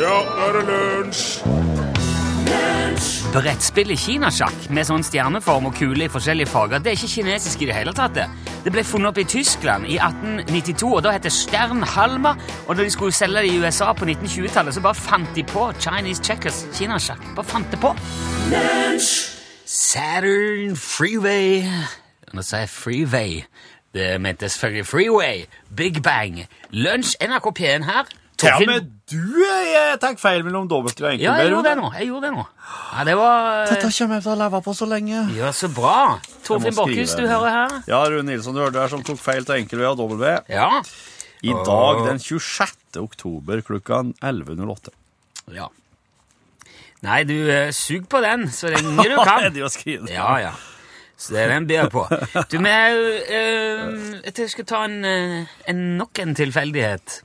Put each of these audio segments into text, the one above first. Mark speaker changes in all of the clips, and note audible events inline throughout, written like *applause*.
Speaker 1: nå er det lunsj!
Speaker 2: Brettspillet kinasjakk med sånn stjerneform og kule i forskjellige farger det er ikke kinesisk i det hele tatt. det. Det ble funnet opp i Tyskland i 1892, og da het det Sternhalma. Og da de skulle selge det i USA på 1920-tallet, så bare fant de på Chinese checkers kinasjakk. Bare fant det på. Saturn Freeway Nå sa jeg Freeway. Det mente selvfølgelig Freeway. Big Bang. Lunsj NRK P1 her.
Speaker 3: Til og
Speaker 2: Torfinn-
Speaker 3: med du eh, jeg tar feil mellom dobbeltstrek og
Speaker 2: Ja, jeg gjorde det
Speaker 3: enkeltbær.
Speaker 2: nå. Jeg gjorde det nå. Ja, det var
Speaker 3: Dette kommer jeg til å leve på så lenge.
Speaker 2: Ja, så bra. Torfinn
Speaker 3: Jeg må skrive
Speaker 2: Borchhus, du
Speaker 3: det.
Speaker 2: hører her.
Speaker 3: Ja, Rune Nilsson, du hørte her som tok feil til enkel V og dobbel V.
Speaker 2: Ja.
Speaker 3: I dag den 26. oktober klokka 11.08.
Speaker 2: ja. Nei, du eh, sug på den så *laughs* lenge
Speaker 3: *laughs*
Speaker 2: du kan.
Speaker 3: det å skrive det?
Speaker 2: Ja, ja. Så det er den byr på. Du, men jeg, eh, jeg tror jeg skal ta en, eh, en nok en tilfeldighet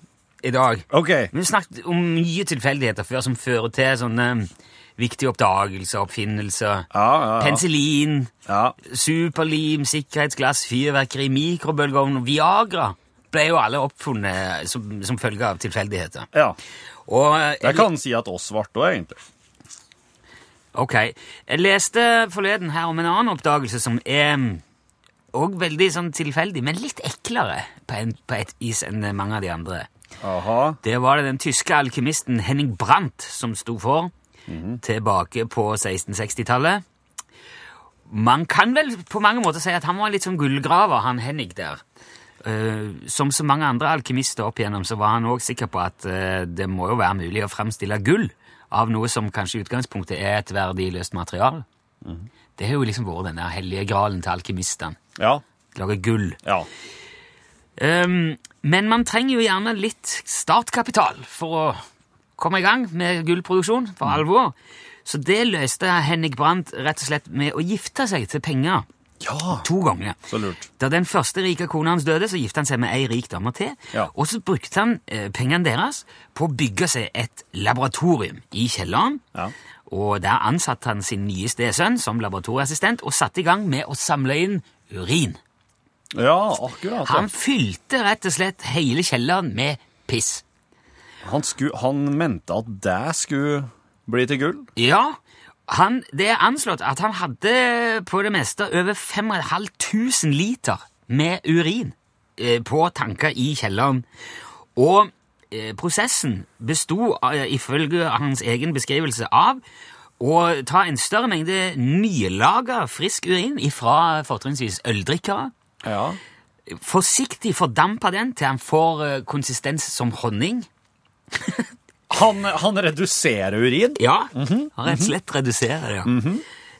Speaker 2: i dag.
Speaker 3: Ok.
Speaker 2: Vi har snakket om mye tilfeldigheter før som fører til sånne eh, viktige oppdagelser, oppfinnelser.
Speaker 3: Ja, ja, ja.
Speaker 2: Penicillin,
Speaker 3: ja.
Speaker 2: superlim, sikkerhetsglass, fyrverkeri, mikrobølgeovn og Viagra ble jo alle oppfunnet eh, som, som følge av tilfeldigheter.
Speaker 3: ja.
Speaker 2: Og eh,
Speaker 3: Jeg kan si at oss ble det, egentlig.
Speaker 2: Ok. Jeg leste forleden her om en annen oppdagelse som er òg veldig sånn tilfeldig, men litt eklere på, en, på et is enn mange av de andre.
Speaker 3: Aha.
Speaker 2: Det var det den tyske alkymisten Henning Brandt som sto for, tilbake på 1660-tallet. Man kan vel på mange måter si at han var litt som gullgraver, han Henning der. Eh, som så mange andre alkymister opp igjennom, så var han òg sikker på at eh, det må jo være mulig å fremstille gull av noe som kanskje i utgangspunktet er et verdiløst materiale. Det har jo liksom vært den der hellige gralen til alkymistene.
Speaker 3: Ja.
Speaker 2: Lage gull.
Speaker 3: Ja.
Speaker 2: Ehm, men man trenger jo gjerne litt startkapital for å komme i gang med gullproduksjon for
Speaker 3: Mm.
Speaker 2: alvor. Så det løste Henrik Brandt rett og slett med å gifte seg til penger
Speaker 3: Ja.
Speaker 2: to ganger.
Speaker 3: Så lurt.
Speaker 2: Da den første rike kona hans døde, så gifte han seg med ei rik dame til.
Speaker 3: Ja.
Speaker 2: Og så brukte han eh, pengene deres på å bygge seg et laboratorium i kjelleren.
Speaker 3: Ja.
Speaker 2: Og der ansatte han sin nye stesønn som laboratorieassistent og satte i gang med å samle inn urin.
Speaker 3: Ja, akkurat.
Speaker 2: Han
Speaker 3: Han,
Speaker 2: fylte rett og slett hele kjelleren med piss.
Speaker 3: han, sku, han mente at det skulle bli til gull.
Speaker 2: Ja, han, det er anslått at han hadde på det meste over 5500 liter med urin eh, på tanker i kjelleren. Og eh, prosessen besto, eh, ifølge hans egen beskrivelse, av å ta en større mengde nylaga frisk urin fra fortrinnsvis øldrikkere,
Speaker 3: Ja.
Speaker 2: forsiktig fordampe den til han får eh, konsistens som honning,
Speaker 3: Han, han reduserer urin.
Speaker 2: Ja,
Speaker 3: Mhm.
Speaker 2: han rett og slett reduserer det. ja.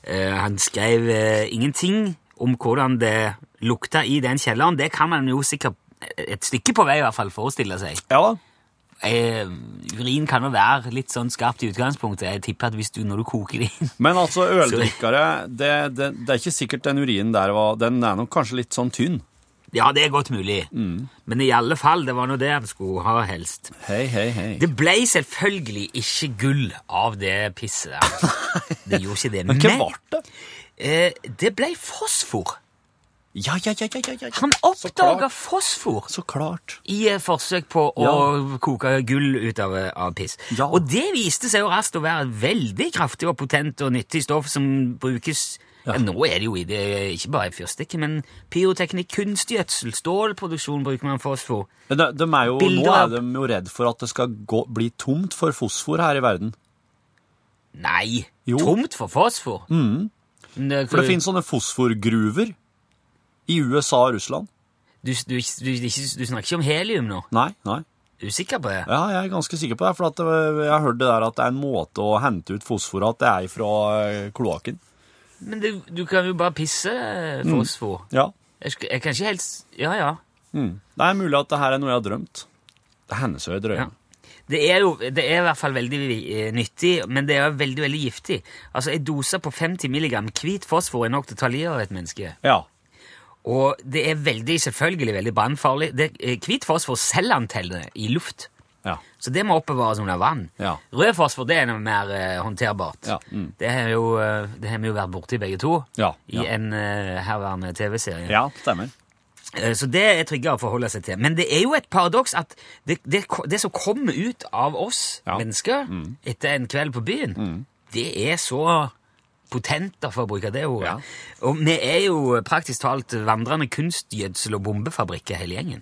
Speaker 2: Eh, han skrev eh, ingenting om hvordan det lukta i den kjelleren. Det kan man jo sikkert eh, et stykke på vei i hvert fall forestille seg.
Speaker 3: Ja da.
Speaker 2: Eh, urin kan jo være litt sånn skarpt i utgangspunktet. Jeg tipper at hvis du, når du koker det inn *laughs*
Speaker 3: Men altså, øldrikkere det, det, det er ikke sikkert den urinen der var Den er nok kanskje litt sånn tynn.
Speaker 2: Ja, det er godt mulig.
Speaker 3: Mm.
Speaker 2: Men i alle fall, det var nå det han skulle ha helst.
Speaker 3: Hei, hei, hei.
Speaker 2: Det ble selvfølgelig ikke gull av det
Speaker 3: *laughs*
Speaker 2: pisset der. Det gjorde ikke det.
Speaker 3: Men hva ble det?
Speaker 2: eh, det ble fosfor.
Speaker 3: Ja, ja, ja, ja, ja, ja.
Speaker 2: Han
Speaker 3: Så klart.
Speaker 2: oppdaga fosfor
Speaker 3: Så klart.
Speaker 2: i eh, forsøk på å koke gull ut av, eh, av piss.
Speaker 3: Ja.
Speaker 2: Og det viste seg jo raskt å være veldig kraftig og potent og nyttig stoff som brukes ja. Nå er det jo i det, ikke bare i fyrstikker, men pyroteknikk, kunstgjødsel, stålproduksjon bruker man fosfor.
Speaker 3: Men De, de er jo, nå
Speaker 2: Bilder
Speaker 3: er
Speaker 2: av-
Speaker 3: de jo redd for at det skal gå, bli tomt for fosfor her i verden.
Speaker 2: Nei,
Speaker 3: Jo. Mm.
Speaker 2: tomt for fosfor. Men det-
Speaker 3: For det finnes sånne fosforgruver i USA og Russland.
Speaker 2: du, du, du, du, du snakker ikke om helium nå?
Speaker 3: Nei, nei.
Speaker 2: Er du sikker på det?
Speaker 3: Ja, jeg er ganske sikker på det, for at øh, jeg har hørt det der at det er en måte å hente ut fosfor at det er fra kloakken.
Speaker 2: Men du, du kan jo bare pisse eh,
Speaker 3: Mm.
Speaker 2: fosfor.
Speaker 3: Ja.
Speaker 2: Jeg, sk- jeg kan ikke helt Ja, ja.
Speaker 3: Mm. Det er mulig at det her er noe jeg har drømt. Det er hennes øye drømme.
Speaker 2: Ja. Det er jo det er i hvert fall veldig eh, nyttig, men det er veldig veldig giftig. Altså, En dose på 50 mg hvit fosfor er nok til å ta livet av et menneske.
Speaker 3: Ja.
Speaker 2: Og det er veldig, selvfølgelig veldig brannfarlig. Det- eh, Hvit fosfor selvanteller eh, i luft,
Speaker 3: Ja.
Speaker 2: så det må oppbevares under vann.
Speaker 3: Ja.
Speaker 2: Rød fosfor det er noe mer eh, håndterbart.
Speaker 3: Ja, mm.
Speaker 2: Det har jo, eh, det har vi jo vært borti begge to
Speaker 3: Ja,
Speaker 2: i
Speaker 3: ja.
Speaker 2: en eh, herværende TV-serie.
Speaker 3: ja, stemmer.
Speaker 2: Eh, Så det er tryggere å forholde seg til. Men det er jo et paradoks at det, det, ko- det som kommer ut av oss
Speaker 3: Ja. Mm.
Speaker 2: mennesker etter en kveld på byen, det er så potent, da, for å bruke det ordet.
Speaker 3: Ja.
Speaker 2: Og vi er jo praktisk talt vandrende kunstgjødsel- og bombefabrikker, hele gjengen.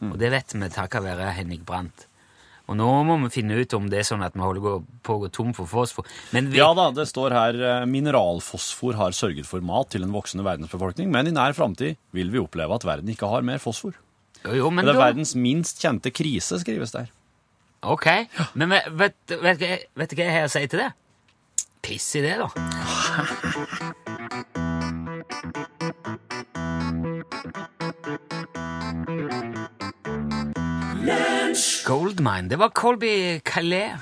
Speaker 3: Mm.
Speaker 2: Og det vet vi takket være Henrik Brandt. Og nå må vi finne ut om det er sånn at vi holder gå- på å gå tom for fosfor. Men vi,
Speaker 3: Ja da, det står her eh, mineralfosfor har sørget for mat til en voksende verdensbefolkning, men i nær framtid vil vi oppleve at verden ikke har mer fosfor.
Speaker 2: jo, jo, men
Speaker 3: Det er
Speaker 2: da-
Speaker 3: verdens minst kjente krise, skrives der.
Speaker 2: Ok, men vet, vet, vet, du hva- vet du hva jeg har å si til det? Piss i det, da. Goldmine, det var Colby Calais.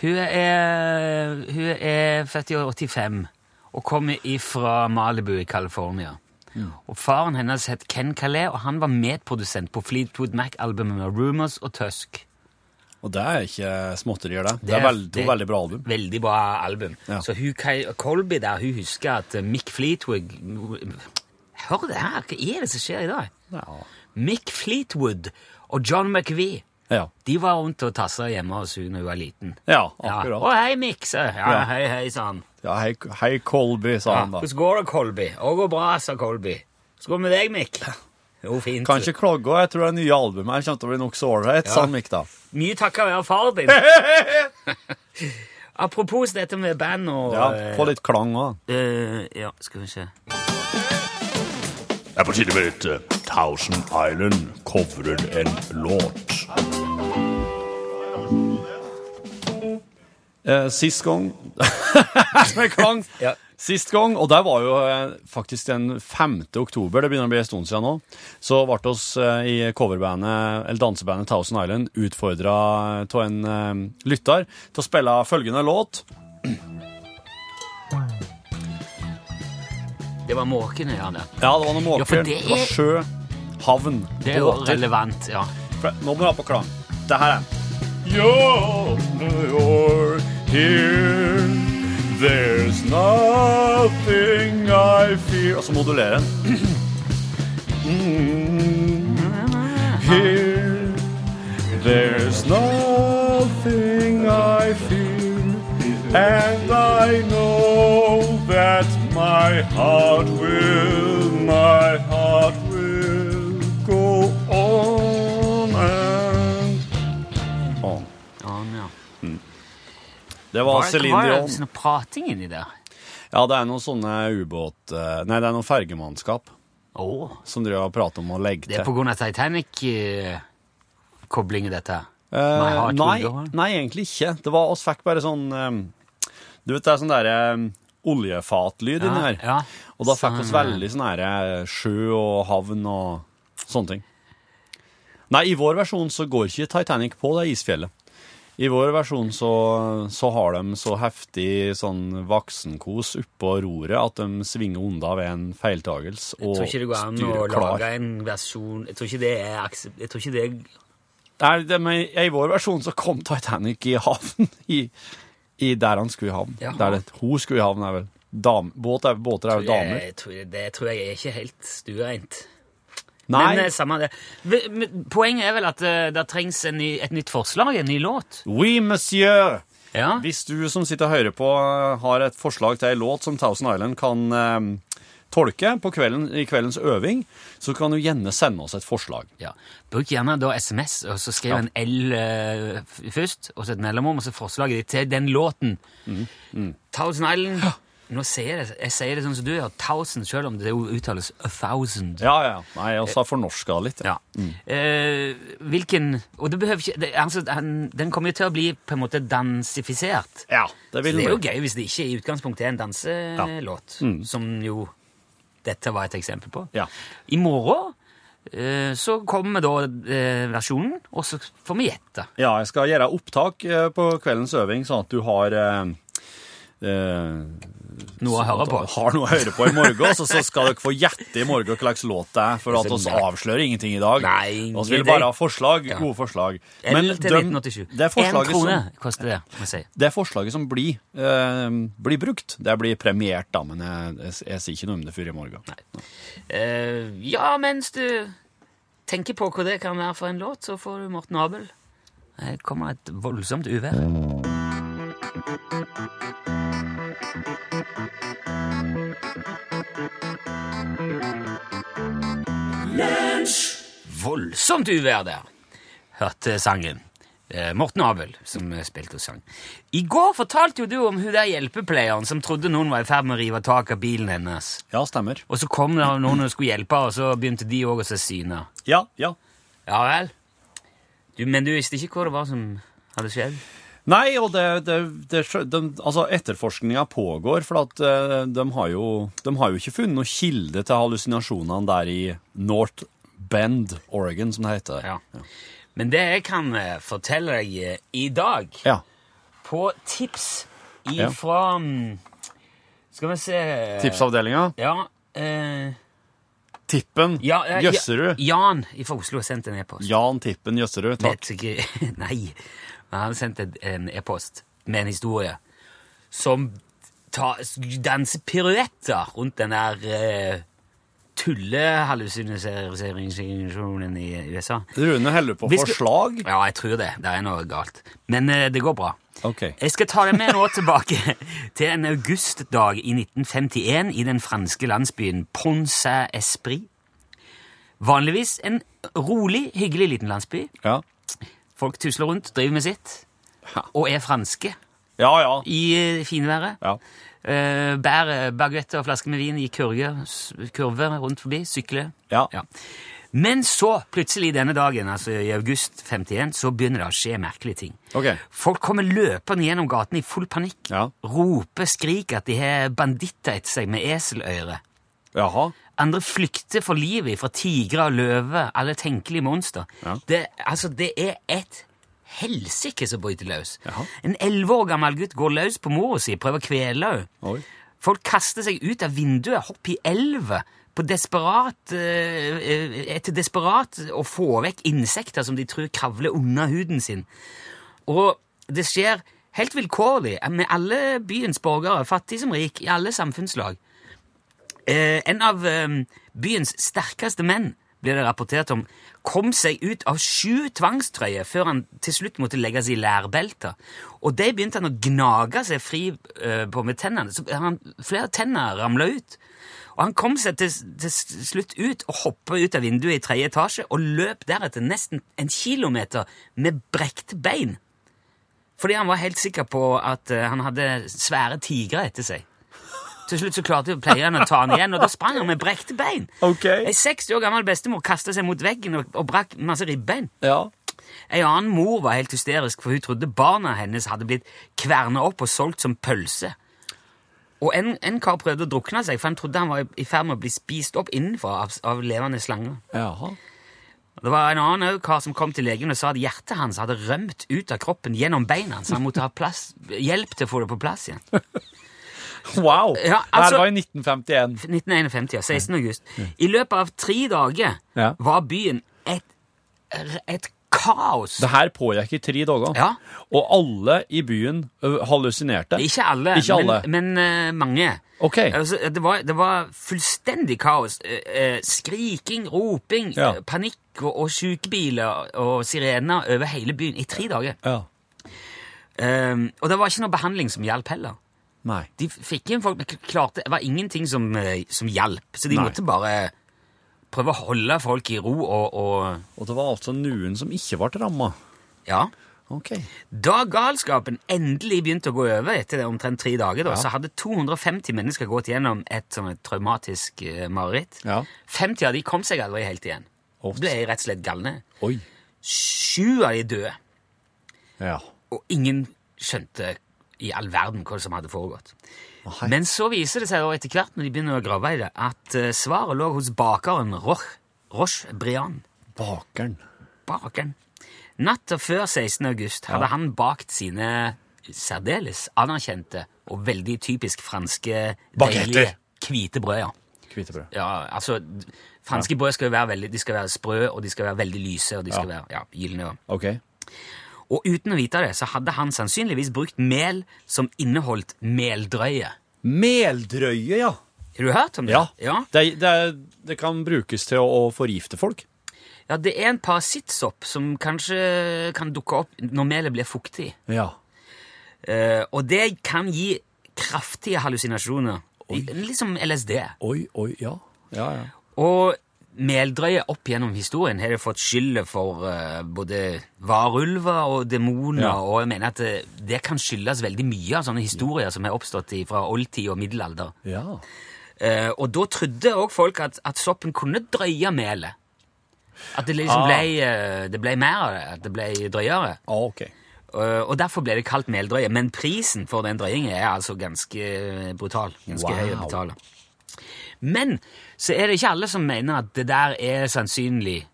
Speaker 2: Hun er, hun er født i år 85 og kommer ifra Malibu i California. Og Faren hennes het Ken Calais, og han var medprodusent på Fleetwood Mac-albumene Rumors og Tusk.
Speaker 3: Og det er ikke småtterier, det. Det,
Speaker 2: Det er-
Speaker 3: er veld, to
Speaker 2: det-
Speaker 3: veldig bra album.
Speaker 2: Veldig bra album.
Speaker 3: Ja.
Speaker 2: Så hun, Kay- Colby der, hun husker at eh, Mick Fleetwood Hør det her! Hva er det som skjer i dag?
Speaker 3: Ja.
Speaker 2: Mick Fleetwood og John McVie
Speaker 3: Ja,
Speaker 2: de var rundt og tassa hjemme hos hun da hun var liten.
Speaker 3: ja
Speaker 2: Ja. Å,
Speaker 3: akkurat.
Speaker 2: hei, Mick, sa jeg. Ja,
Speaker 3: Ja.
Speaker 2: hei, hei, sa han.
Speaker 3: Ja, hei, hei Colby, sa
Speaker 2: Ja.
Speaker 3: han da.
Speaker 2: Hvordan går det, Colby? Å, går bra, sa Colby. Hvordan går det med deg, Mick? Jo, fint.
Speaker 3: Kan ikke klage, og jeg tror det nye albumet her kommer til å bli nokså ålreit, sa han Mick da.
Speaker 2: Mye takket være far
Speaker 3: *laughs*
Speaker 2: din. Apropos dette med band og
Speaker 3: Ja,
Speaker 2: eh,
Speaker 3: Få litt klang òg.
Speaker 2: eh, ja, skal vi se.
Speaker 1: Det er på tide med litt eh, Thousand Island covrer en låt.
Speaker 3: Eh, sist gang *laughs* Med klang.
Speaker 2: Ja.
Speaker 3: Sist gang, og det var jo eh, faktisk den 5. oktober, det begynner å bli en stund siden nå, så ble oss eh, i coverbandet, eller dansebandet Thousand Island utfordra av en eh, lytter til å spille følgende låt.
Speaker 2: Det var måkene, ja. det.
Speaker 3: Ja, det var noen
Speaker 2: Ja, for
Speaker 3: måker.
Speaker 2: det
Speaker 3: det,
Speaker 2: er-
Speaker 3: var sjø, havn,
Speaker 2: Det er jo
Speaker 3: båter.
Speaker 2: relevant, ja.
Speaker 3: For- Nå må du ha på klang. Det her er
Speaker 1: You're, you're here. There's nothing I fear
Speaker 3: Og så modulerer den.
Speaker 1: Mm. here. There's nothing I fear. And I know that my heart will, my heart will go on and
Speaker 3: Å.
Speaker 2: ja, ja.
Speaker 3: Det var Celine
Speaker 2: Hva er
Speaker 3: Dion.
Speaker 2: det sånn prating inni der?
Speaker 3: Ja, det er noen sånne ubåt... eh, Nei, det er noen fergemannskap
Speaker 2: Å,
Speaker 3: som driver og prater om å legge
Speaker 2: det er
Speaker 3: til.
Speaker 2: på grunn av Titanic-koblingen, dette.
Speaker 3: Eh,
Speaker 2: My heart will
Speaker 3: nei,
Speaker 2: go on.
Speaker 3: nei, egentlig ikke. Det var, oss fikk bare sånn eh, Du vet, det er sånn derre oljefatlyd inni her.
Speaker 2: ja.
Speaker 3: Og da fikk oss
Speaker 2: Sånn,
Speaker 3: veldig sånn her eh, sjø og havn og sånne ting. Nei, i vår versjon så går ikke Titanic på det isfjellet. I vår versjon så, så har de så heftig sånn voksenkos oppå roret at de svinger unna ved en feiltagelse
Speaker 2: Jeg
Speaker 3: og
Speaker 2: tror ikke det går an å
Speaker 3: styrer
Speaker 2: lage
Speaker 3: klar.
Speaker 2: en versjon Jeg tror ikke det er aksep- Jeg tror ikke det
Speaker 3: Nei, det, men i vår versjon så kom Titanic i havn i, i der han skulle i havn.
Speaker 2: Jaha.
Speaker 3: Der det, hun skulle i havn, er vel. Dam, båt er, båter er jo damer.
Speaker 2: jeg tror, Det tror jeg er ikke helt stuereint.
Speaker 3: Nei,
Speaker 2: Men eh, samme det. V- men Poenget er vel at eh, det trengs en ny, et nytt forslag, en ny låt.
Speaker 3: oui, monsieur!
Speaker 2: Ja.
Speaker 3: Hvis du som sitter og hører på eh, har et forslag til ei låt som Thousand Island kan eh, tolke på kvelden, i kveldens øving, så kan du gjerne sende oss et forslag.
Speaker 2: Ja. Bruk gjerne da SMS, og så skriv
Speaker 3: Ja.
Speaker 2: en L eh, f- først, og så et mellomrom, og så forslaget ditt til den låten. Thousand Island. Nå sier jeg det, jeg sier det sånn som du gjør, Thousand, selv om det jo uttales a thousand.
Speaker 3: Ja, ja. Nei, jeg har fornorska litt.
Speaker 2: Ja. Eh, hvilken Og det behøver ikke det, altså, den, den kommer jo til å bli på en måte dansifisert.
Speaker 3: ja det
Speaker 2: Så
Speaker 3: vil
Speaker 2: det er jo
Speaker 3: den bli. Mm.
Speaker 2: gøy hvis det ikke i utgangspunktet er en danselåt, som jo dette var et eksempel på.
Speaker 3: Ja.
Speaker 2: I morgen eh, så kommer da eh, versjonen, og så får vi gjette.
Speaker 3: Ja, jeg skal gjøre opptak eh, på kveldens øving, sånn at du har eh, eh,
Speaker 2: Noe å høre på.
Speaker 3: Har noe å høre på i morgen, altså? så, så skal dere få gjette i morgen hva slags låt det er. For at oss avslører ingenting i dag.
Speaker 2: Nei,
Speaker 3: oss vil bare ha forslag.
Speaker 2: Ja.
Speaker 3: Gode forslag.
Speaker 2: Eller til
Speaker 3: dem-
Speaker 2: 1987.
Speaker 3: det er
Speaker 2: Én
Speaker 3: forslaget
Speaker 2: krone
Speaker 3: som
Speaker 2: koster det, må jeg si.
Speaker 3: det forslaget som blir, eh, blir brukt, det blir premiert da, men jeg, jeg, jeg sier ikke noe om det før i morgen.
Speaker 2: Eh, ja, mens du tenker på hva det kan være for en låt, så får du Morten Abel. Her kommer et voldsomt uvær. Voldsomt uvær der, hørte sangen. Eh, Morten Abel, som eh, spilte og sang. I går fortalte jo du om hun der hjelpepleieren som trodde noen var i ferd med å rive tak av bilen hennes.
Speaker 3: Ja, stemmer.
Speaker 2: Og så kom det noen som skulle hjelpe, og så begynte de òg å se syner.
Speaker 3: Ja, ja.
Speaker 2: Ja vel. Du, men du visste ikke hva det var som hadde skjedd?
Speaker 3: Nei, og det, det, det de, Altså, etterforskninga pågår, for at eh, de, har jo, de har jo ikke funnet noen kilde til hallusinasjonene der i North Bend, Oregon, som det heter.
Speaker 2: Ja. Men det jeg kan eh, fortelle deg eh, i dag,
Speaker 3: Ja.
Speaker 2: på tips
Speaker 3: Ja.
Speaker 2: ifra mm, Skal vi se
Speaker 3: Tipsavdelinga.
Speaker 2: Ja, eh,
Speaker 3: Tippen
Speaker 2: ja, eh, ja
Speaker 3: Jøsserud.
Speaker 2: Jan fra Oslo har sendt en e-post.
Speaker 3: Jan Tippen Jøsserud. Takk.
Speaker 2: Vet ikke *laughs* Nei. Men han sendte et- en e-post med en historie som ta, danser piruetter rundt den der uh, tullehallusinasjonen i USA.
Speaker 3: Rune heller på
Speaker 2: Vi skal-
Speaker 3: forslag.
Speaker 2: Ja, jeg tror det. Det er noe galt. Men eh, det går bra.
Speaker 3: Ok.
Speaker 2: Jeg skal ta deg med nå tilbake *laughs* til en augustdag i 1951 i den franske landsbyen Ponce-Esprit. Vanligvis en rolig, hyggelig liten landsby.
Speaker 3: Ja.
Speaker 2: Folk tusler rundt, driver med sitt,
Speaker 3: Ja.
Speaker 2: og er franske
Speaker 3: Ja, ja.
Speaker 2: i eh, finværet.
Speaker 3: ja.
Speaker 2: Eh, bærer baguetter og flasker med vin i kurver, s- kurver rundt forbi, sykler.
Speaker 3: Ja.
Speaker 2: Ja. Men så, plutselig denne dagen, altså i august 51, så begynner det å skje merkelige ting.
Speaker 3: Ok.
Speaker 2: Folk kommer løpende gjennom gaten i full panikk.
Speaker 3: Ja.
Speaker 2: Roper, skriker at de har banditter etter seg med eseløyre.
Speaker 3: Jaha.
Speaker 2: Andre flykter for livet fra tigre og løver, alle tenkelige monster.
Speaker 3: Ja.
Speaker 2: Det, altså, det er et helsike som bryter løs.
Speaker 3: Jaha.
Speaker 2: En elleve år gammel gutt går løs på mora si, prøver å kvele henne.
Speaker 3: Oi.
Speaker 2: Folk kaster seg ut av vinduet, hopper i elva på desperat, eh, eh, etter desperat å få vekk insekter som de tror kravler under huden sin. Og det skjer helt vilkårlig med alle byens borgere, fattig som rik, i alle samfunnslag. Eh, en av eh, byens sterkeste menn, blir det rapportert om, kom seg ut av sju tvangstrøyer før han til slutt måtte legges i lærbelter. Og de begynte han å gnage seg fri eh, på med tennene. Så han, flere tenner ramla ut. Og han kom seg til, til slutt ut og hoppa ut av vinduet i tredje etasje og løp deretter nesten en kilometer med brekte bein. Fordi han var helt sikker på at eh, han hadde svære tigre etter seg. Til slutt så klarte pleieren å ta han igjen, og da sprang han med brekte bein.
Speaker 3: Ok.
Speaker 2: Ei 60 år gammel bestemor kasta seg mot veggen og, og brakk masse ribbein.
Speaker 3: Ja.
Speaker 2: Ei annen mor var helt hysterisk, for hun trodde barna hennes hadde blitt kverna opp og solgt som pølse. Og en, en kar prøvde å drukne seg, for han trodde han var i- i ferd med å bli spist opp innenfra av, av levende slanger.
Speaker 3: Jaha.
Speaker 2: Det var en annen også kar som kom til legen og sa at hjertet hans hadde rømt ut av kroppen gjennom beina, så han måtte ha plass, hjelp til å få det på
Speaker 3: *laughs*
Speaker 2: plass igjen.
Speaker 3: Wow.
Speaker 2: Ja,
Speaker 3: det her
Speaker 2: altså-
Speaker 3: var i 1951.
Speaker 2: 1951, ja, 16. august. I løpet av tre dager
Speaker 3: Ja.
Speaker 2: var byen et, et kaos.
Speaker 3: Det her pågikk i tre dager.
Speaker 2: Ja.
Speaker 3: Og alle i byen ø, hallusinerte.
Speaker 2: Ikke alle,
Speaker 3: Ikke alle.
Speaker 2: men, men eh, mange.
Speaker 3: Ok.
Speaker 2: Altså, det, var, det var fullstendig kaos. Eh, eh, skriking, roping,
Speaker 3: Ja.
Speaker 2: eh, panikk og, og sykebiler og sirener over hele byen i tre dager.
Speaker 3: Ja.
Speaker 2: Eh, og det var ikke noe behandling som hjalp heller.
Speaker 3: Nei.
Speaker 2: De fikk inn folk, men k- klarte, det var ingenting som, eh, som hjalp, så de
Speaker 3: Nei.
Speaker 2: måtte bare prøve å holde folk i ro og, og
Speaker 3: Og det var altså noen som ikke ble ramma.
Speaker 2: ja.
Speaker 3: Ok.
Speaker 2: Da galskapen endelig begynte å gå over etter det omtrent tre dager, da, så hadde 250 mennesker gått gjennom et sånn et traumatisk eh, mareritt.
Speaker 3: Ja.
Speaker 2: 50 av de kom seg aldri helt igjen.
Speaker 3: Ops.
Speaker 2: Ble rett og slett galne.
Speaker 3: Oi.
Speaker 2: Sju av de døde,
Speaker 3: Ja.
Speaker 2: og ingen skjønte i all verden hva som hadde foregått.
Speaker 3: Å, hei.
Speaker 2: Men så viser det seg da etter hvert når de begynner å grave i det, at eh, svaret lå hos bakeren Roche, Roche Brian.
Speaker 3: Bakeren.
Speaker 2: Bakeren. Natta før 16. august hadde han bakt sine særdeles anerkjente og veldig typisk franske
Speaker 3: Baguetter.
Speaker 2: deilige hvite brød. Ja.
Speaker 3: Hvitebrød.
Speaker 2: Ja, altså, d- franske brød skal jo være veldig, de skal være sprø, og de skal være veldig lyse, og de skal være ja, gylne. og-
Speaker 3: Ok.
Speaker 2: Og uten å vite det, så hadde han sannsynligvis brukt mel som inneholdt meldrøye.
Speaker 3: Meldrøye, ja.
Speaker 2: Har du hørt om det?
Speaker 3: Ja. Det, det, det kan brukes til å, å forgifte folk.
Speaker 2: Ja, det er en parasittsopp som kanskje kan dukke opp når melet blir fuktig.
Speaker 3: Ja.
Speaker 2: Eh, og det kan gi kraftige hallusinasjoner. Liksom Litt som LSD.
Speaker 3: Oi, oi, ja. Ja, ja.
Speaker 2: Og meldrøye opp gjennom historien har det fått skyldet for eh, både varulver og demoner,
Speaker 3: Ja.
Speaker 2: og jeg mener at det, det kan skyldes veldig mye av sånne historier som har oppstått i- fra oldtid og middelalder.
Speaker 3: ja.
Speaker 2: Eh, og da trodde òg folk at, at soppen kunne drøye melet. At det liksom
Speaker 3: Ah.
Speaker 2: ble, eh, det ble mer av det, at det ble drøyere.
Speaker 3: Ah, ok.
Speaker 2: Eh, og derfor ble det kalt meldrøye. Men prisen for den drøyingen er altså ganske brutal. Ganske
Speaker 3: Wow.
Speaker 2: høy å betale. Men så er det ikke alle som mener at det der er sannsynlig,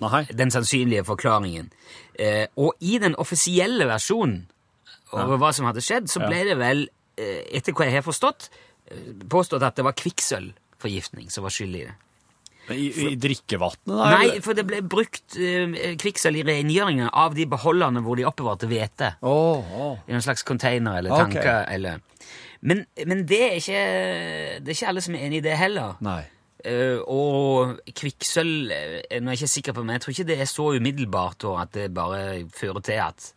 Speaker 3: Nei.
Speaker 2: den sannsynlige forklaringen. Eh, og i den offisielle versjonen over hva som hadde skjedd, så ble det vel, eh, etter hva jeg har forstått, eh, påstått at det var kvikksølvforgiftning som var skyld i det.
Speaker 3: I, i drikkevannet, da?
Speaker 2: Nei,
Speaker 3: eller?
Speaker 2: for det ble brukt eh, kvikksølv i rengjøringen av de beholderne hvor de oppbevarte hvete.
Speaker 3: Åh, åh.
Speaker 2: I noen slags container eller
Speaker 3: Ok.
Speaker 2: tanker. Eller. Men, men det, er ikke, det er ikke alle som er enig i det heller.
Speaker 3: Nei.
Speaker 2: Eh, og kvikksølv eh, Nå er jeg ikke sikker på, men jeg tror ikke det er så umiddelbart og at det bare fører til at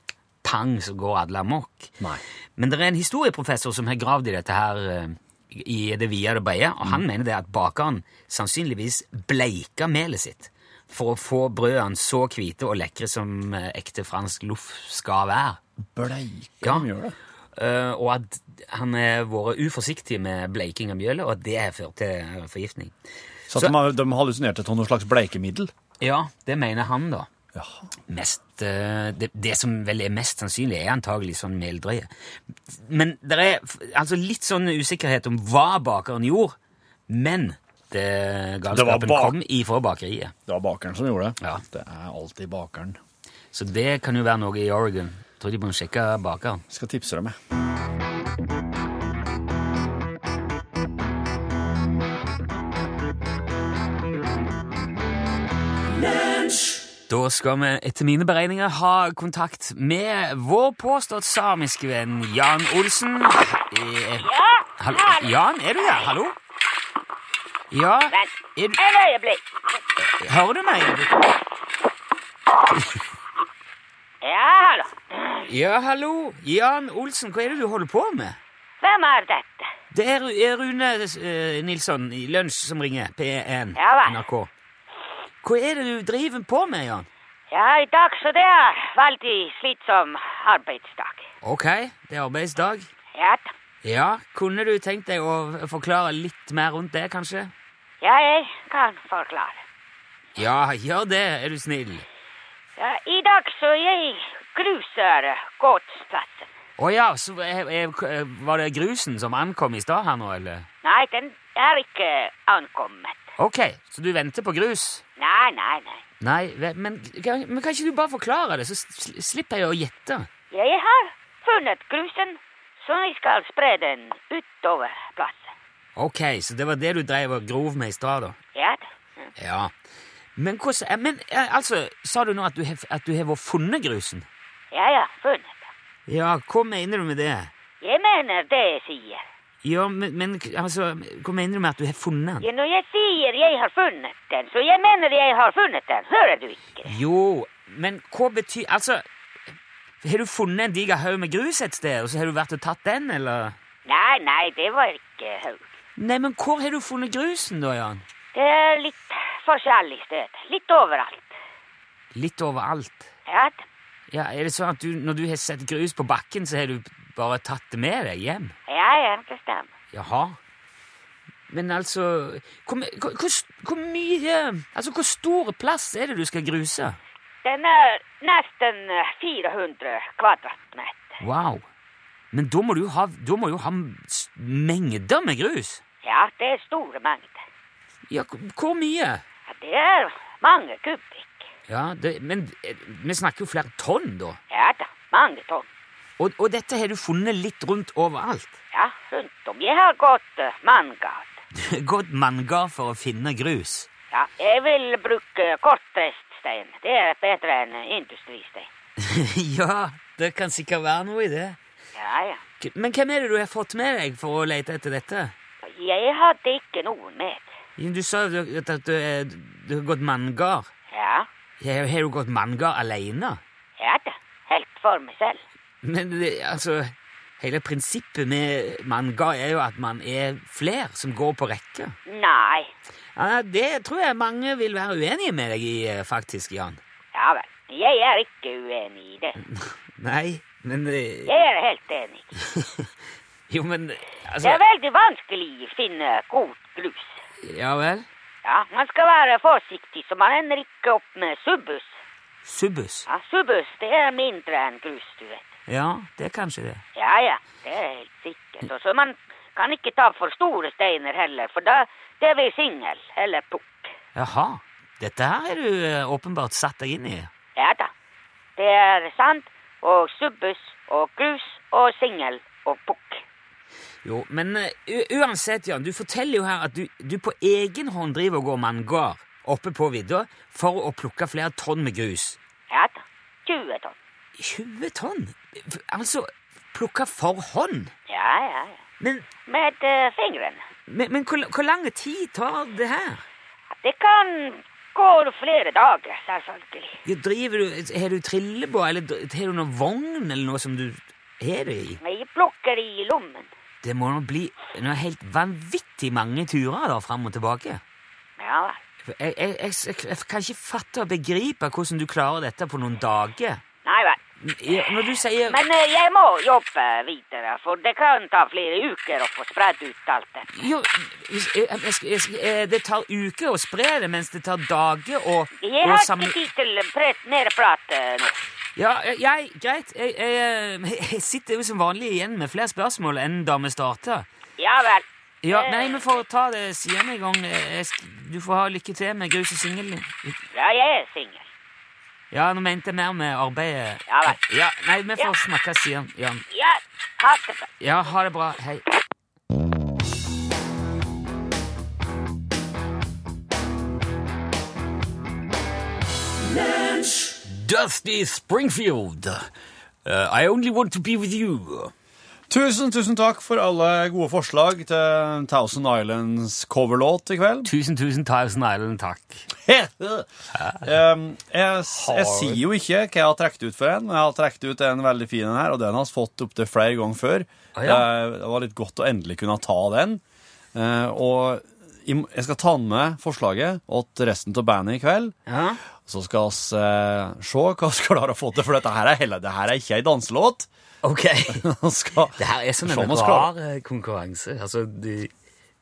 Speaker 2: pang, så går alle amok.
Speaker 3: Nei.
Speaker 2: Men det er en historieprofessor som har gravd i dette her eh, i det videre breie, og
Speaker 3: Mm.
Speaker 2: han mener det at bakeren sannsynligvis bleika melet sitt for å få brødene så hvite og lekre som eh, ekte fransk loff skal være.
Speaker 3: Bleika
Speaker 2: Ja.
Speaker 3: de gjør det.
Speaker 2: Eh, og at han har vært uforsiktig med bleiking av mjølet, og at det har ført til forgiftning.
Speaker 3: Så,
Speaker 2: Så-
Speaker 3: at de, har- de hallusinerte til noe slags bleikemiddel?
Speaker 2: Ja, det mener han, da.
Speaker 3: Jaha.
Speaker 2: Mest, eh, det, det som vel er mest sannsynlig, er antagelig sånn meldrøye. Men det er f- altså litt sånn usikkerhet om hva bakeren gjorde, men det
Speaker 3: var
Speaker 2: galskapen
Speaker 3: bak-
Speaker 2: kom ifra bakeriet.
Speaker 3: Det var bakeren som gjorde det.
Speaker 2: Ja.
Speaker 3: Det er alltid bakeren.
Speaker 2: Så det kan jo være noe i Oregon. Tror de må sjekke bakeren.
Speaker 3: Skal tipse deg med.
Speaker 2: Da skal vi etter mine beregninger ha kontakt med vår påstått samiske venn Jan Olsen. Eh, hallo? Jan, er du der? Hallo? Ja, er du,
Speaker 4: Et øyeblikk.
Speaker 2: hører du meg?
Speaker 4: Ja, hallo.
Speaker 2: Ja, hallo. Jan Olsen, hva er det du holder på med?
Speaker 4: Hvem er dette?
Speaker 2: Det er Ru- er Rune eh, Nilsson i Lunsj som ringer, P1
Speaker 4: Ja vel.
Speaker 2: NRK. Hva er det du driver på med, Jan?
Speaker 4: Ja, i dag så det er veldig slitsom arbeidsdag.
Speaker 2: Ok, det er arbeidsdag.
Speaker 4: Ja, da.
Speaker 2: Ja, kunne du tenkt deg å forklare litt mer rundt det, kanskje?
Speaker 4: ja jeg kan forklare.
Speaker 2: Ja, gjør det, er du snill.
Speaker 4: Ja, I dag så jeg gruser gårdsplassen.
Speaker 2: Å ja, så eh, eh, var det grusen som ankom i stad her nå, eller?
Speaker 4: Nei, den er ikke ankommet.
Speaker 2: Ok, så du venter på grus?
Speaker 4: Nei, nei, nei.
Speaker 2: Nei, ve- men, kan- men kan ikke du bare forklare det, så sl- slipper jeg å gjette?
Speaker 4: Jeg har funnet grusen, så jeg skal spre den utover plassen.
Speaker 2: Ok, så det var det du dreiv og grov med i stad, da?
Speaker 4: Ja, da.
Speaker 2: Ja. Men hvordan eh, Men eh, altså, sa du nå at du har at du har vært funnet grusen?
Speaker 4: ja, ja, funnet.
Speaker 2: Ja, hva mener du med det?
Speaker 4: Jeg mener det jeg sier.
Speaker 2: Ja, men, men altså, hva mener du med at du har funnet den?
Speaker 4: Ja, når jeg sier jeg har funnet den, så jeg mener jeg har funnet den. Hører du ikke?
Speaker 2: Jo, men hva betyr Altså, har du funnet en diger haug med grus et sted, og så har du vært og tatt den, eller?
Speaker 4: Nei, nei, det var ikke haug.
Speaker 2: Nei, men hvor har du funnet grusen, da, Jan?
Speaker 4: Det er litt forskjellig sted. Litt overalt.
Speaker 2: Litt overalt.
Speaker 4: Ja, da.
Speaker 2: Ja, Er det sånn at du, når du har sett grus på bakken, så har du bare tatt det med deg hjem?
Speaker 4: ja, ja, det stemmer.
Speaker 2: Jaha. Men altså Hvor, my- hvor, hvor, hvor mye Altså, hvor stor plass er det du skal gruse?
Speaker 4: Den er nesten eh, 400 kvadratmeter.
Speaker 2: Wow. Men da må du ha, da må du ha s- mengder med grus.
Speaker 4: Ja, det er store mengder.
Speaker 2: Ja, hvor- hvor mye?
Speaker 4: Ja, Det er mange kubikk.
Speaker 2: Ja, det, Men eh, vi snakker jo flere tonn, da.
Speaker 4: Ja da, mange tonn.
Speaker 2: Og, og dette har du funnet litt rundt overalt. *laughs*
Speaker 4: Ja, rundt om. Jeg har gått eh, manngard.
Speaker 2: Gått manngard for å finne grus. *laughs*
Speaker 4: Ja, jeg vil bruke kortreiststein. Det er bedre enn industristein.
Speaker 2: ja, det kan sikkert være noe i det.
Speaker 4: Ja, ja.
Speaker 2: K- Men hvem er det du har fått med deg for å lete etter dette?
Speaker 4: Jeg hadde ikke noen med.
Speaker 2: Du sa jo at at du, er- du har gått manngard.
Speaker 4: Ja,
Speaker 2: Har har du gått manngard alene?
Speaker 4: Ja da, helt for meg selv.
Speaker 2: Men det, altså Hele prinsippet med manngard er jo at man er flere som går på rekke.
Speaker 4: Nei.
Speaker 2: Ja, det tror jeg mange vil være uenige med deg i, eh, faktisk, Jan.
Speaker 4: Ja vel. Jeg er ikke uenig i det.
Speaker 2: Nei, men eh,
Speaker 4: Jeg er helt enig.
Speaker 2: Jo, men
Speaker 4: Det
Speaker 2: altså
Speaker 4: er veldig vanskelig å finne god grus.
Speaker 2: Ja vel?
Speaker 4: Ja, man skal være forsiktig, så man ender ikke opp med subbus.
Speaker 2: Subbus.
Speaker 4: Ja, subbus, det er mindre enn grus, du vet.
Speaker 2: Ja, det er kanskje det.
Speaker 4: Ja, ja, det er helt sikkert. Og så man kan ikke ta for store steiner heller, for da det blir singel eller pukk.
Speaker 2: Jaha. Dette her er du eh, åpenbart satt deg inn i.
Speaker 4: Ja da. Det er sand og subbus og grus og singel og pukk.
Speaker 2: Jo, men eh, u uansett, Jan, du forteller jo her at du, du på egen hånd driver og går manngard oppe på vidda for å plukke flere tonn med grus.
Speaker 4: Ja da. 20 tonn.
Speaker 2: 20 tonn? F- Altså, plukke for hånd?
Speaker 4: Ja, ja, ja.
Speaker 2: Men,
Speaker 4: Med eh, fingrene.
Speaker 2: men, men hvor, hvor lang tid tar det her?
Speaker 4: Det kan gå flere dager, selvfølgelig.
Speaker 2: Ja, Driver du, Har du trillebår, eller dr- har du noen vogn eller noe som du har det i?
Speaker 4: Jeg plukker i lommen.
Speaker 2: Det må nå bli noe helt vanvittig mange turer da, fram og tilbake.
Speaker 4: Ja vel.
Speaker 2: Jeg, jeg, jeg, jeg kan ikke fatte og begripe hvordan du klarer dette på noen dager.
Speaker 4: Nei vel.
Speaker 2: Ja, Når du sier
Speaker 4: Men eh, jeg må jobbe videre, for det kan ta flere uker å få spredd ut alt det.
Speaker 2: jo, hvis- jeg, jeg, skal- jeg, skal- eh, Det tar uker å spre det, mens det tar dager å,
Speaker 4: Jeg
Speaker 2: å
Speaker 4: har
Speaker 2: samle
Speaker 4: ikke tid til pret mer prat eh, nå.
Speaker 2: Ja, eh, jeg, greit. Jeg, jeg, *laughs* jeg sitter jo som vanlig igjen med flere spørsmål enn da vi starta.
Speaker 4: Ja vel.
Speaker 2: Ja,
Speaker 4: Eh.
Speaker 2: nei, vi får ta det siden en gang. Eh, Jeg, sk- du får ha lykke til med grus og singel.
Speaker 4: Ja, jeg er singel.
Speaker 2: Ja, nå mente jeg mer med arbeidet.
Speaker 4: Ja vel.
Speaker 2: Ja, nei, vi
Speaker 4: Ja.
Speaker 2: får snakke siden, Jan.
Speaker 4: Ja, ha det bra.
Speaker 2: Ja, ha det bra. Hei.
Speaker 5: Dusty Springfield. Uh, I only want to be with you.
Speaker 3: Tusen, tusen takk for alle gode forslag til Thousand Islands coverlåt i kveld.
Speaker 2: Tusen, tusen Thousand Island takk.
Speaker 3: Um, jeg, jeg sier jo ikke hva jeg har trukket ut for en, men jeg har trukket ut en veldig fin en her, og den har vi fått opptil flere ganger før.
Speaker 2: Å, Ah, ja.
Speaker 3: Eh, Det var litt godt å endelig kunne ta den. Eh, og i- jeg skal ta med forslaget til resten av bandet i kveld.
Speaker 2: Ja.
Speaker 3: Så skal vi eh, se hva vi klarer å få til, for dette her er, heller, det her er ikke ei danselåt. *laughs*
Speaker 2: Ok.
Speaker 3: Vi skal
Speaker 2: *laughs* Det her er sånn
Speaker 3: se om
Speaker 2: en
Speaker 3: vi klarer-
Speaker 2: rar eh, konkurranse. Altså, du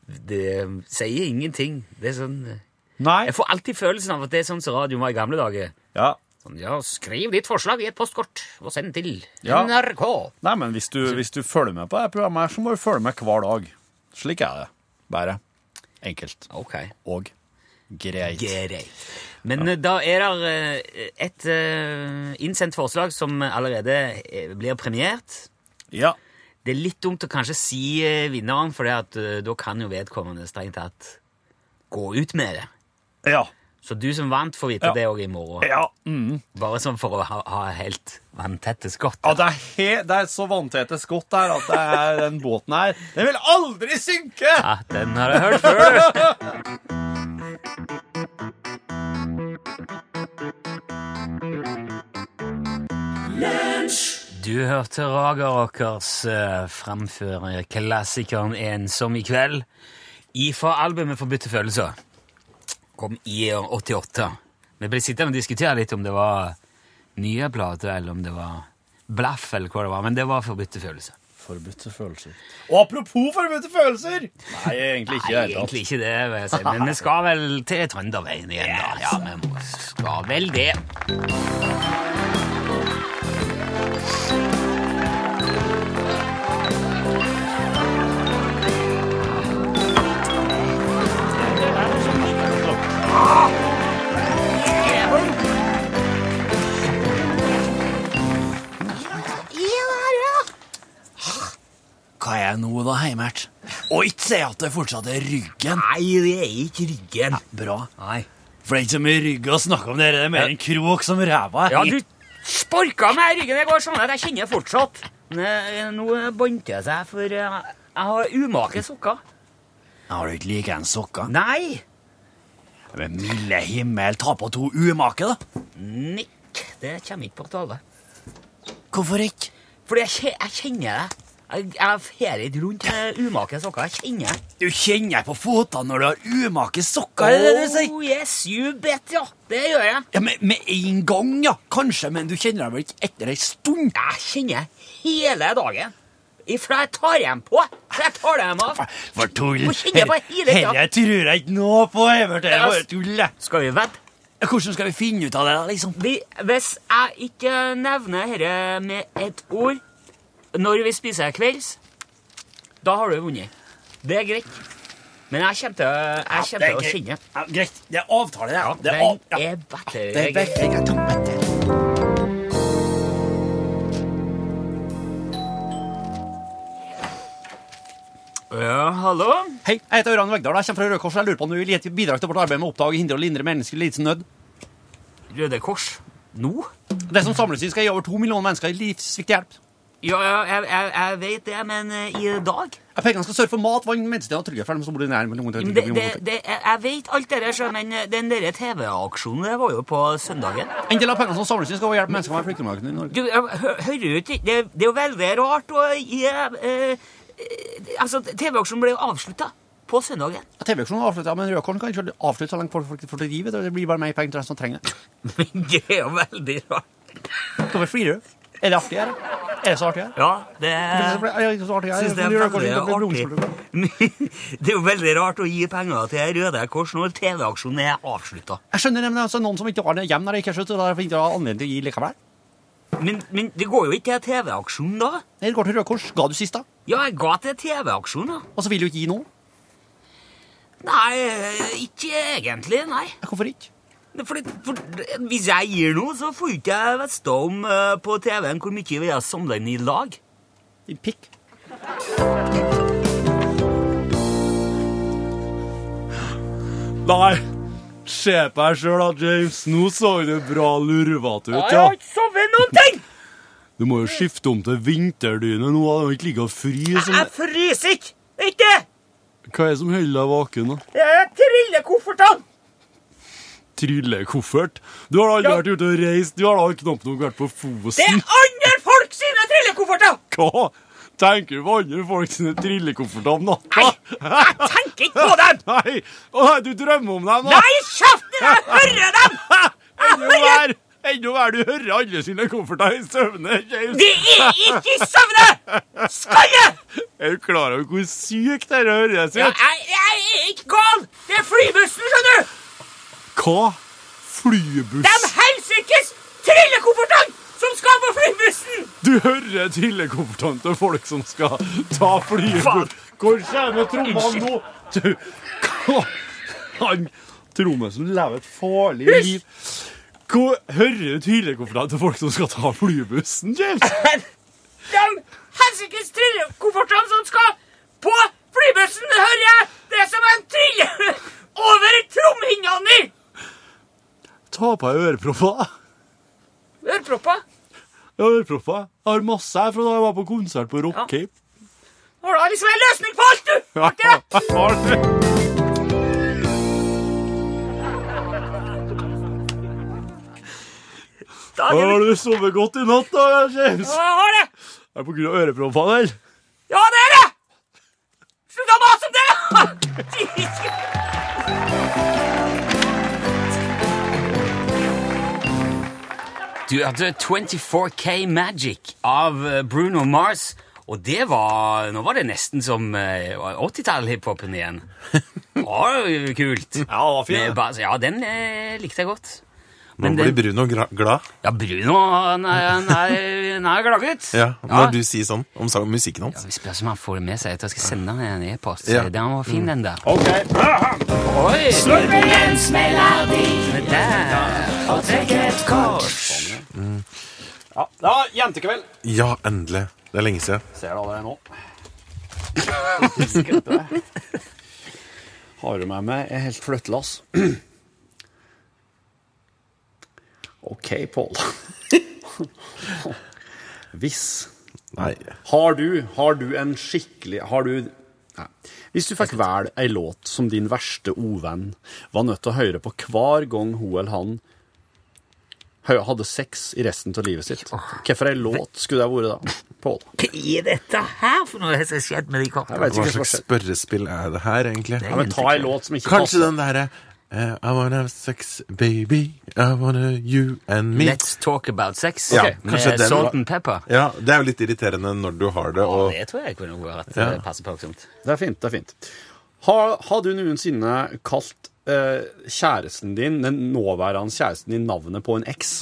Speaker 2: Det eh, sier ingenting. Det er sånn eh,
Speaker 3: Nei.
Speaker 2: Jeg får alltid følelsen av at det er sånn som radioen var i gamle dager.
Speaker 3: Ja.
Speaker 2: Sånn, ja, skriv ditt forslag i et postkort og send til
Speaker 3: Ja.
Speaker 2: NRK.
Speaker 3: Nei, men hvis
Speaker 5: Altså-
Speaker 3: du, hvis du følger med på det programmet her, så må du følge med hver dag. Slik er det. Bare. Enkelt.
Speaker 2: Ok,
Speaker 3: Og greit.
Speaker 2: greit. Men eh, da er det eh, et eh, innsendt forslag som allerede eh, blir premiert.
Speaker 3: Ja.
Speaker 2: Det er litt dumt å kanskje si eh, vinneren, for det at, eh, da kan jo vedkommende strengt tatt gå ut med det.
Speaker 3: Ja.
Speaker 2: Så du som vant får vite
Speaker 3: Ja.
Speaker 2: det òg i morgen.
Speaker 3: Ja. Mm.
Speaker 2: Bare sånn for å ha, ha helt vanntette skott.
Speaker 3: ja det, er he det er så vanntete skott her at det er den båten her Den vil aldri synke!
Speaker 2: Ja, den har jeg hørt før. Du hørte Raga Rockers eh, framføre klassikeren 'Ensom i kveld' ifra albumet 'Forbudte følelser'. Kom i år 88. Vi ble sittende og diskutere litt om det var nye plater, eller om det var blaff, eller hva det var, men det var 'Forbudte følelser'.
Speaker 3: Forbudte følelser. Og apropos forbudte følelser! Nei, egentlig ikke. i det
Speaker 2: Nei,
Speaker 3: hele tatt.
Speaker 2: egentlig ikke det, vil jeg si. Men vi skal vel til Trønderveien igjen, da. Ja, vi må- skal vel det.
Speaker 5: Hva er nå da, Heimert? Og ikke si at det fortsatt er ryggen.
Speaker 2: Nei, det er ikke ryggen.
Speaker 5: Bra.
Speaker 2: Nei.
Speaker 5: For det er ikke så mye rygg å snakke om dere. Det er mer en krok som ræva.
Speaker 2: Ja, du sparka meg i ryggen i går sånn at jeg kjenner det fortsatt. Nå- Nå båndte jeg seg, for eh, jeg har umake sokker.
Speaker 5: Har du ikke like en sokka?
Speaker 2: Nei.
Speaker 5: Men milde himmel, ta på to umake, da.
Speaker 2: Nikk, det kommer ikke på tale.
Speaker 5: Hvorfor ikke?
Speaker 2: Fordi jeg, kje- jeg kjenner det. Jeg, jeg fer ikke rundt med umake sokker. Jeg kjenner det.
Speaker 5: Du kjenner på føttene når du har umake sokker, er det det du sier?
Speaker 2: Oh yes, you bet, ja. Det gjør jeg.
Speaker 5: Ja, med, med en gang, ja. Kanskje, men du kjenner deg vel ikke etter ei stund?
Speaker 2: Jeg kjenner hele dagen. Ifra jeg tar dem på, til jeg tar dem av.
Speaker 5: For tull!
Speaker 2: Må kjenne på hele tida.
Speaker 5: Dette tror jeg ikke noe på, Evert. Det er
Speaker 2: Ja,
Speaker 5: bare
Speaker 2: ass.
Speaker 5: tull. det.
Speaker 2: Skal vi vedde?
Speaker 5: Hvordan skal vi finne ut av det, da, liksom?
Speaker 2: Vi- Hvis jeg ikke nevner dette med et ord når vi spiser kvelds, da har du vunnet. Det er greit. Men jeg kommer til, jeg kommer til å kjenne.
Speaker 5: Ja, greit. Det er avtale, det. det er,
Speaker 2: Den
Speaker 5: av, ja.
Speaker 2: er bedre.
Speaker 5: det er
Speaker 2: greit.
Speaker 5: veldig greit. ja, vet du.
Speaker 2: Ja, hallo?
Speaker 3: Hei, jeg heter Øran Vegdal. Jeg kommer fra Røde Kors. og Jeg lurer på om du vil gi et bidrag til vårt arbeid med å oppdage, hindre og lindre menneskelig lidelse og nød.
Speaker 2: Røde Kors? Nå?
Speaker 3: Det som samles inn, skal gi over to millioner mennesker livsviktig hjelp.
Speaker 2: Ja, ja, jeg, jeg, jeg vet det, men eh, i dag
Speaker 3: Jeg Pengene skal sørge for mat, vann, mennesker og trygghet for dem som bor i
Speaker 2: Men det, det,
Speaker 3: nærheten.
Speaker 2: det, jeg jeg vet alt det der, sjø, men eh, den der TV-aksjonen det var jo på søndagen.
Speaker 3: En del av pengene som samles inn, skal hjelpe mennesker med flyktningene i Norge.
Speaker 2: Du, jeg hø- hører du ikke? Det, det er jo veldig rart å gi eh, eh, Altså, TV-aksjonen ble jo avslutta på søndagen.
Speaker 3: TV-aksjonen er avsluttet, men Røde Kors kan ikke avslutte så lenge folk folk får til livet. og Det blir bare mer penger til dem som trenger det.
Speaker 2: *laughs* Men det er jo veldig rart.
Speaker 3: Hvorfor flirer du? Er det artig her? Er det så artig her?
Speaker 2: Ja, det
Speaker 3: Hvorfor er det så artig her?
Speaker 2: Syns Eh, det er
Speaker 3: Røde Kors
Speaker 2: veldig
Speaker 3: ikke blir
Speaker 2: artig.
Speaker 3: blomsterbukk.
Speaker 2: Men *laughs* Det er jo veldig rart å gi penger til Røde Kors når TV-aksjonen er avslutta.
Speaker 3: Jeg skjønner det, men det er altså noen som ikke har det hjem når det ikke er slutt, og derfor ikke har anledning til å gi likevel.
Speaker 2: Men, men det går jo ikke til TV-aksjonen da.
Speaker 3: Nei, det går til Røde Kors. Ga du sist, da?
Speaker 2: Ja, jeg ga til TV-aksjonen, da.
Speaker 3: Og så vil du ikke gi noe?
Speaker 2: Nei, eh, ikke egentlig, nei.
Speaker 3: Ja, Hvorfor ikke?
Speaker 2: Det er Fordi, for hvis jeg gir noe, så får ikke jeg vite om eh, på TV-en hvor mye vi har samla inn i lag.
Speaker 3: Din pikk.
Speaker 5: Nei, se på deg sjøl da, James. Nå så du bra lurvete ut,
Speaker 2: ikke sovet noen ting!
Speaker 5: Du må jo skifte om til vinterdyne nå. Du ikke ligge og fryse.
Speaker 2: Jeg fryser ikke! Ikke!
Speaker 5: Hva er det som holder deg våken? da?
Speaker 2: Jeg triller koffertene!
Speaker 5: Trillekoffert? Du har da aldri
Speaker 2: Ja.
Speaker 5: vært ute og reist. Du har da knapt nok vært på
Speaker 2: Det
Speaker 5: Fosen.
Speaker 2: er andre folk sine trillekofferter!
Speaker 5: Hva? Tenker du på andre folk sine trillekofferter om natta?
Speaker 2: Nei, jeg tenker ikke på dem!
Speaker 5: Nei! Å nei, du drømmer om dem, da?
Speaker 2: Nei, kjeft! Jeg hører dem! Jeg
Speaker 5: Enda
Speaker 2: hører
Speaker 5: verre! Enda verre, du hører alle sine kofferter i søvne. James.
Speaker 2: De er ikke i søvne! Skalle!
Speaker 5: Er du klar over hvor sykt dette høres
Speaker 2: Ja,
Speaker 5: ut?
Speaker 2: jeg, jeg er ikke gal! Det er flybussen, skjønner du!
Speaker 5: Hva? Flybuss?
Speaker 2: De helsikes trillekoffertene som skal på flybussen!
Speaker 5: Du hører trillekoffertene til folk som skal ta flyet. Hvor kommer trommene nå? Du, hva? Han trommisen lever et farlig liv. Hvor hører du trillekoffertene til folk som skal ta flybussen, James?
Speaker 2: De helsikes trillekoffertene som skal på flybussen, det hører jeg! Det er som en trille *laughs* over trommehinna mi!
Speaker 5: Ta på deg ørepropper.
Speaker 2: Ørepropper?
Speaker 5: Jeg har ørepropper. Jeg har masse her fra da jeg var på konsert på Rock Cape.
Speaker 2: Har du liksom en løsning på alt, du?
Speaker 5: Ja, jeg har det.
Speaker 2: Dagen
Speaker 5: *laughs* Har du sovet godt i natt, da, James?
Speaker 2: Ja, Jeg har det!
Speaker 5: Er det på grunn av øreproppene, eller?
Speaker 2: Ja, det er det! Slutt å mase om det! Jesus. Du hadde 24K Magic av eh, Bruno Mars, og det var Nå var det nesten som eh, 80-tall-hiphopen igjen. Det var jo kult.
Speaker 3: Ja, det var
Speaker 2: Med bas- ja, den eh, likte jeg godt.
Speaker 6: Nå
Speaker 2: Men
Speaker 6: blir
Speaker 2: den-
Speaker 6: Bruno gra- glad
Speaker 2: Ja, Bruno han er, han er- han er gladgutt.
Speaker 6: ja, når du sier sånn om sang- musikken hans.
Speaker 2: Vi spør om han får det med seg. Jeg tror jeg skal sende han en e-post.
Speaker 6: Ja. Mm.
Speaker 2: Den var fin, den der.
Speaker 3: Ok.
Speaker 2: Oi! Snurpingens melodi der, og trekk et kors.
Speaker 3: Sånn, Mm. Ja, det var jentekveld.
Speaker 6: Ja, endelig. Det er lenge siden.
Speaker 3: Ser du allerede nå? *laughs* Har du med meg et helt fløttelass? *clears throat* OK, Pål. *laughs* Hvis
Speaker 6: Nei.
Speaker 3: Har du, har du en skikkelig Har du Nei. Hvis du fikk velge ei låt som din verste ovenn var nødt til å høre på hver gang hun eller han hø- hadde sex i resten av livet sitt, hvorfor ei låt skulle det ha vært da? Pål?
Speaker 2: Hva er dette her for noe som har skjedd med de
Speaker 3: Jeg
Speaker 2: kortene?
Speaker 3: vet ikke
Speaker 6: Hva
Speaker 3: hva som har
Speaker 6: slags
Speaker 3: skjedd.
Speaker 6: spørrespill er det her, egentlig?
Speaker 3: Ja, men ta ei låt som ikke
Speaker 6: Kanskje
Speaker 3: passer.
Speaker 6: den derre eh, I wanna have sex, baby. I wanna you and me.
Speaker 2: Let's talk about sex
Speaker 6: Ja, kanskje
Speaker 2: med
Speaker 6: den
Speaker 2: salt
Speaker 6: var-
Speaker 2: and pepper.
Speaker 6: Ja, Det er jo litt irriterende når du har det, og
Speaker 2: Det tror jeg kunne vært
Speaker 6: Ja.
Speaker 2: eh, passe plagsomt.
Speaker 3: Det er fint, det er fint. Har, har du noensinne kalt eh, kjæresten din, den nåværende kjæresten din, navnet på en eks?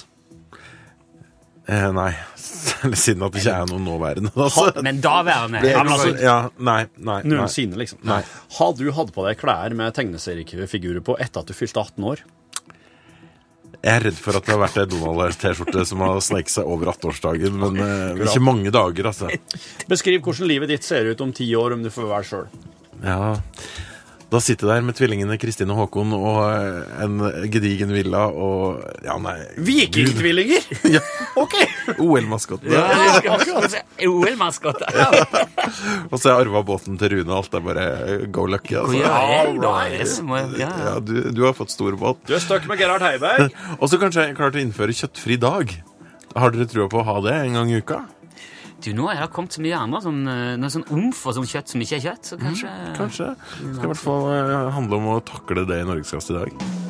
Speaker 6: eh, Nei. *laughs* Særlig siden at det ikke er noe nåværende. Altså.
Speaker 2: Men daværende
Speaker 6: Det er
Speaker 2: Han var-
Speaker 6: altså, ja, nei, nei, nei.
Speaker 3: Noensinne, liksom.
Speaker 6: Nei.
Speaker 3: Har du hatt på deg klær med tegneseriefigurer på etter at du fylte 18 år?
Speaker 6: Jeg er redd for at det har vært ei Donald-T-skjorte som har sneket seg over 18-årsdagen, men eh, ikke mange dager, altså.
Speaker 3: Beskriv hvordan livet ditt ser ut om ti år, om du får være sjøl.
Speaker 6: Ja. Da sitter jeg der med tvillingene Kristin og Håkon og eh, en gedigen villa og Ja, nei
Speaker 3: Vikingtvillinger!
Speaker 6: *laughs* Ja,
Speaker 3: OK!
Speaker 6: OL-maskotten.
Speaker 2: Ja, akkurat. OL-maskotte.
Speaker 6: Og så har jeg arva båten til Rune, og alt er bare eh, go lucky, altså.
Speaker 2: Ja, jeg, da,
Speaker 6: Alright.
Speaker 2: jeg som må- ja.
Speaker 6: Ja, du, du har fått stor båt.
Speaker 3: Du er stuck med Gerhard Heiberg.
Speaker 6: Og så kanskje jeg klarte å innføre kjøttfri dag. Har dere trua på å ha det en gang i uka?
Speaker 2: Du, Nå er det kommet så mye andre sånn, eh, noe sånn omf og sånn kjøtt
Speaker 6: Mm.
Speaker 2: som ikke er kjøtt. Så kanskje
Speaker 6: Kanskje. Det skal i hvert fall eh, handle om å takle det i Norgesklasse i dag.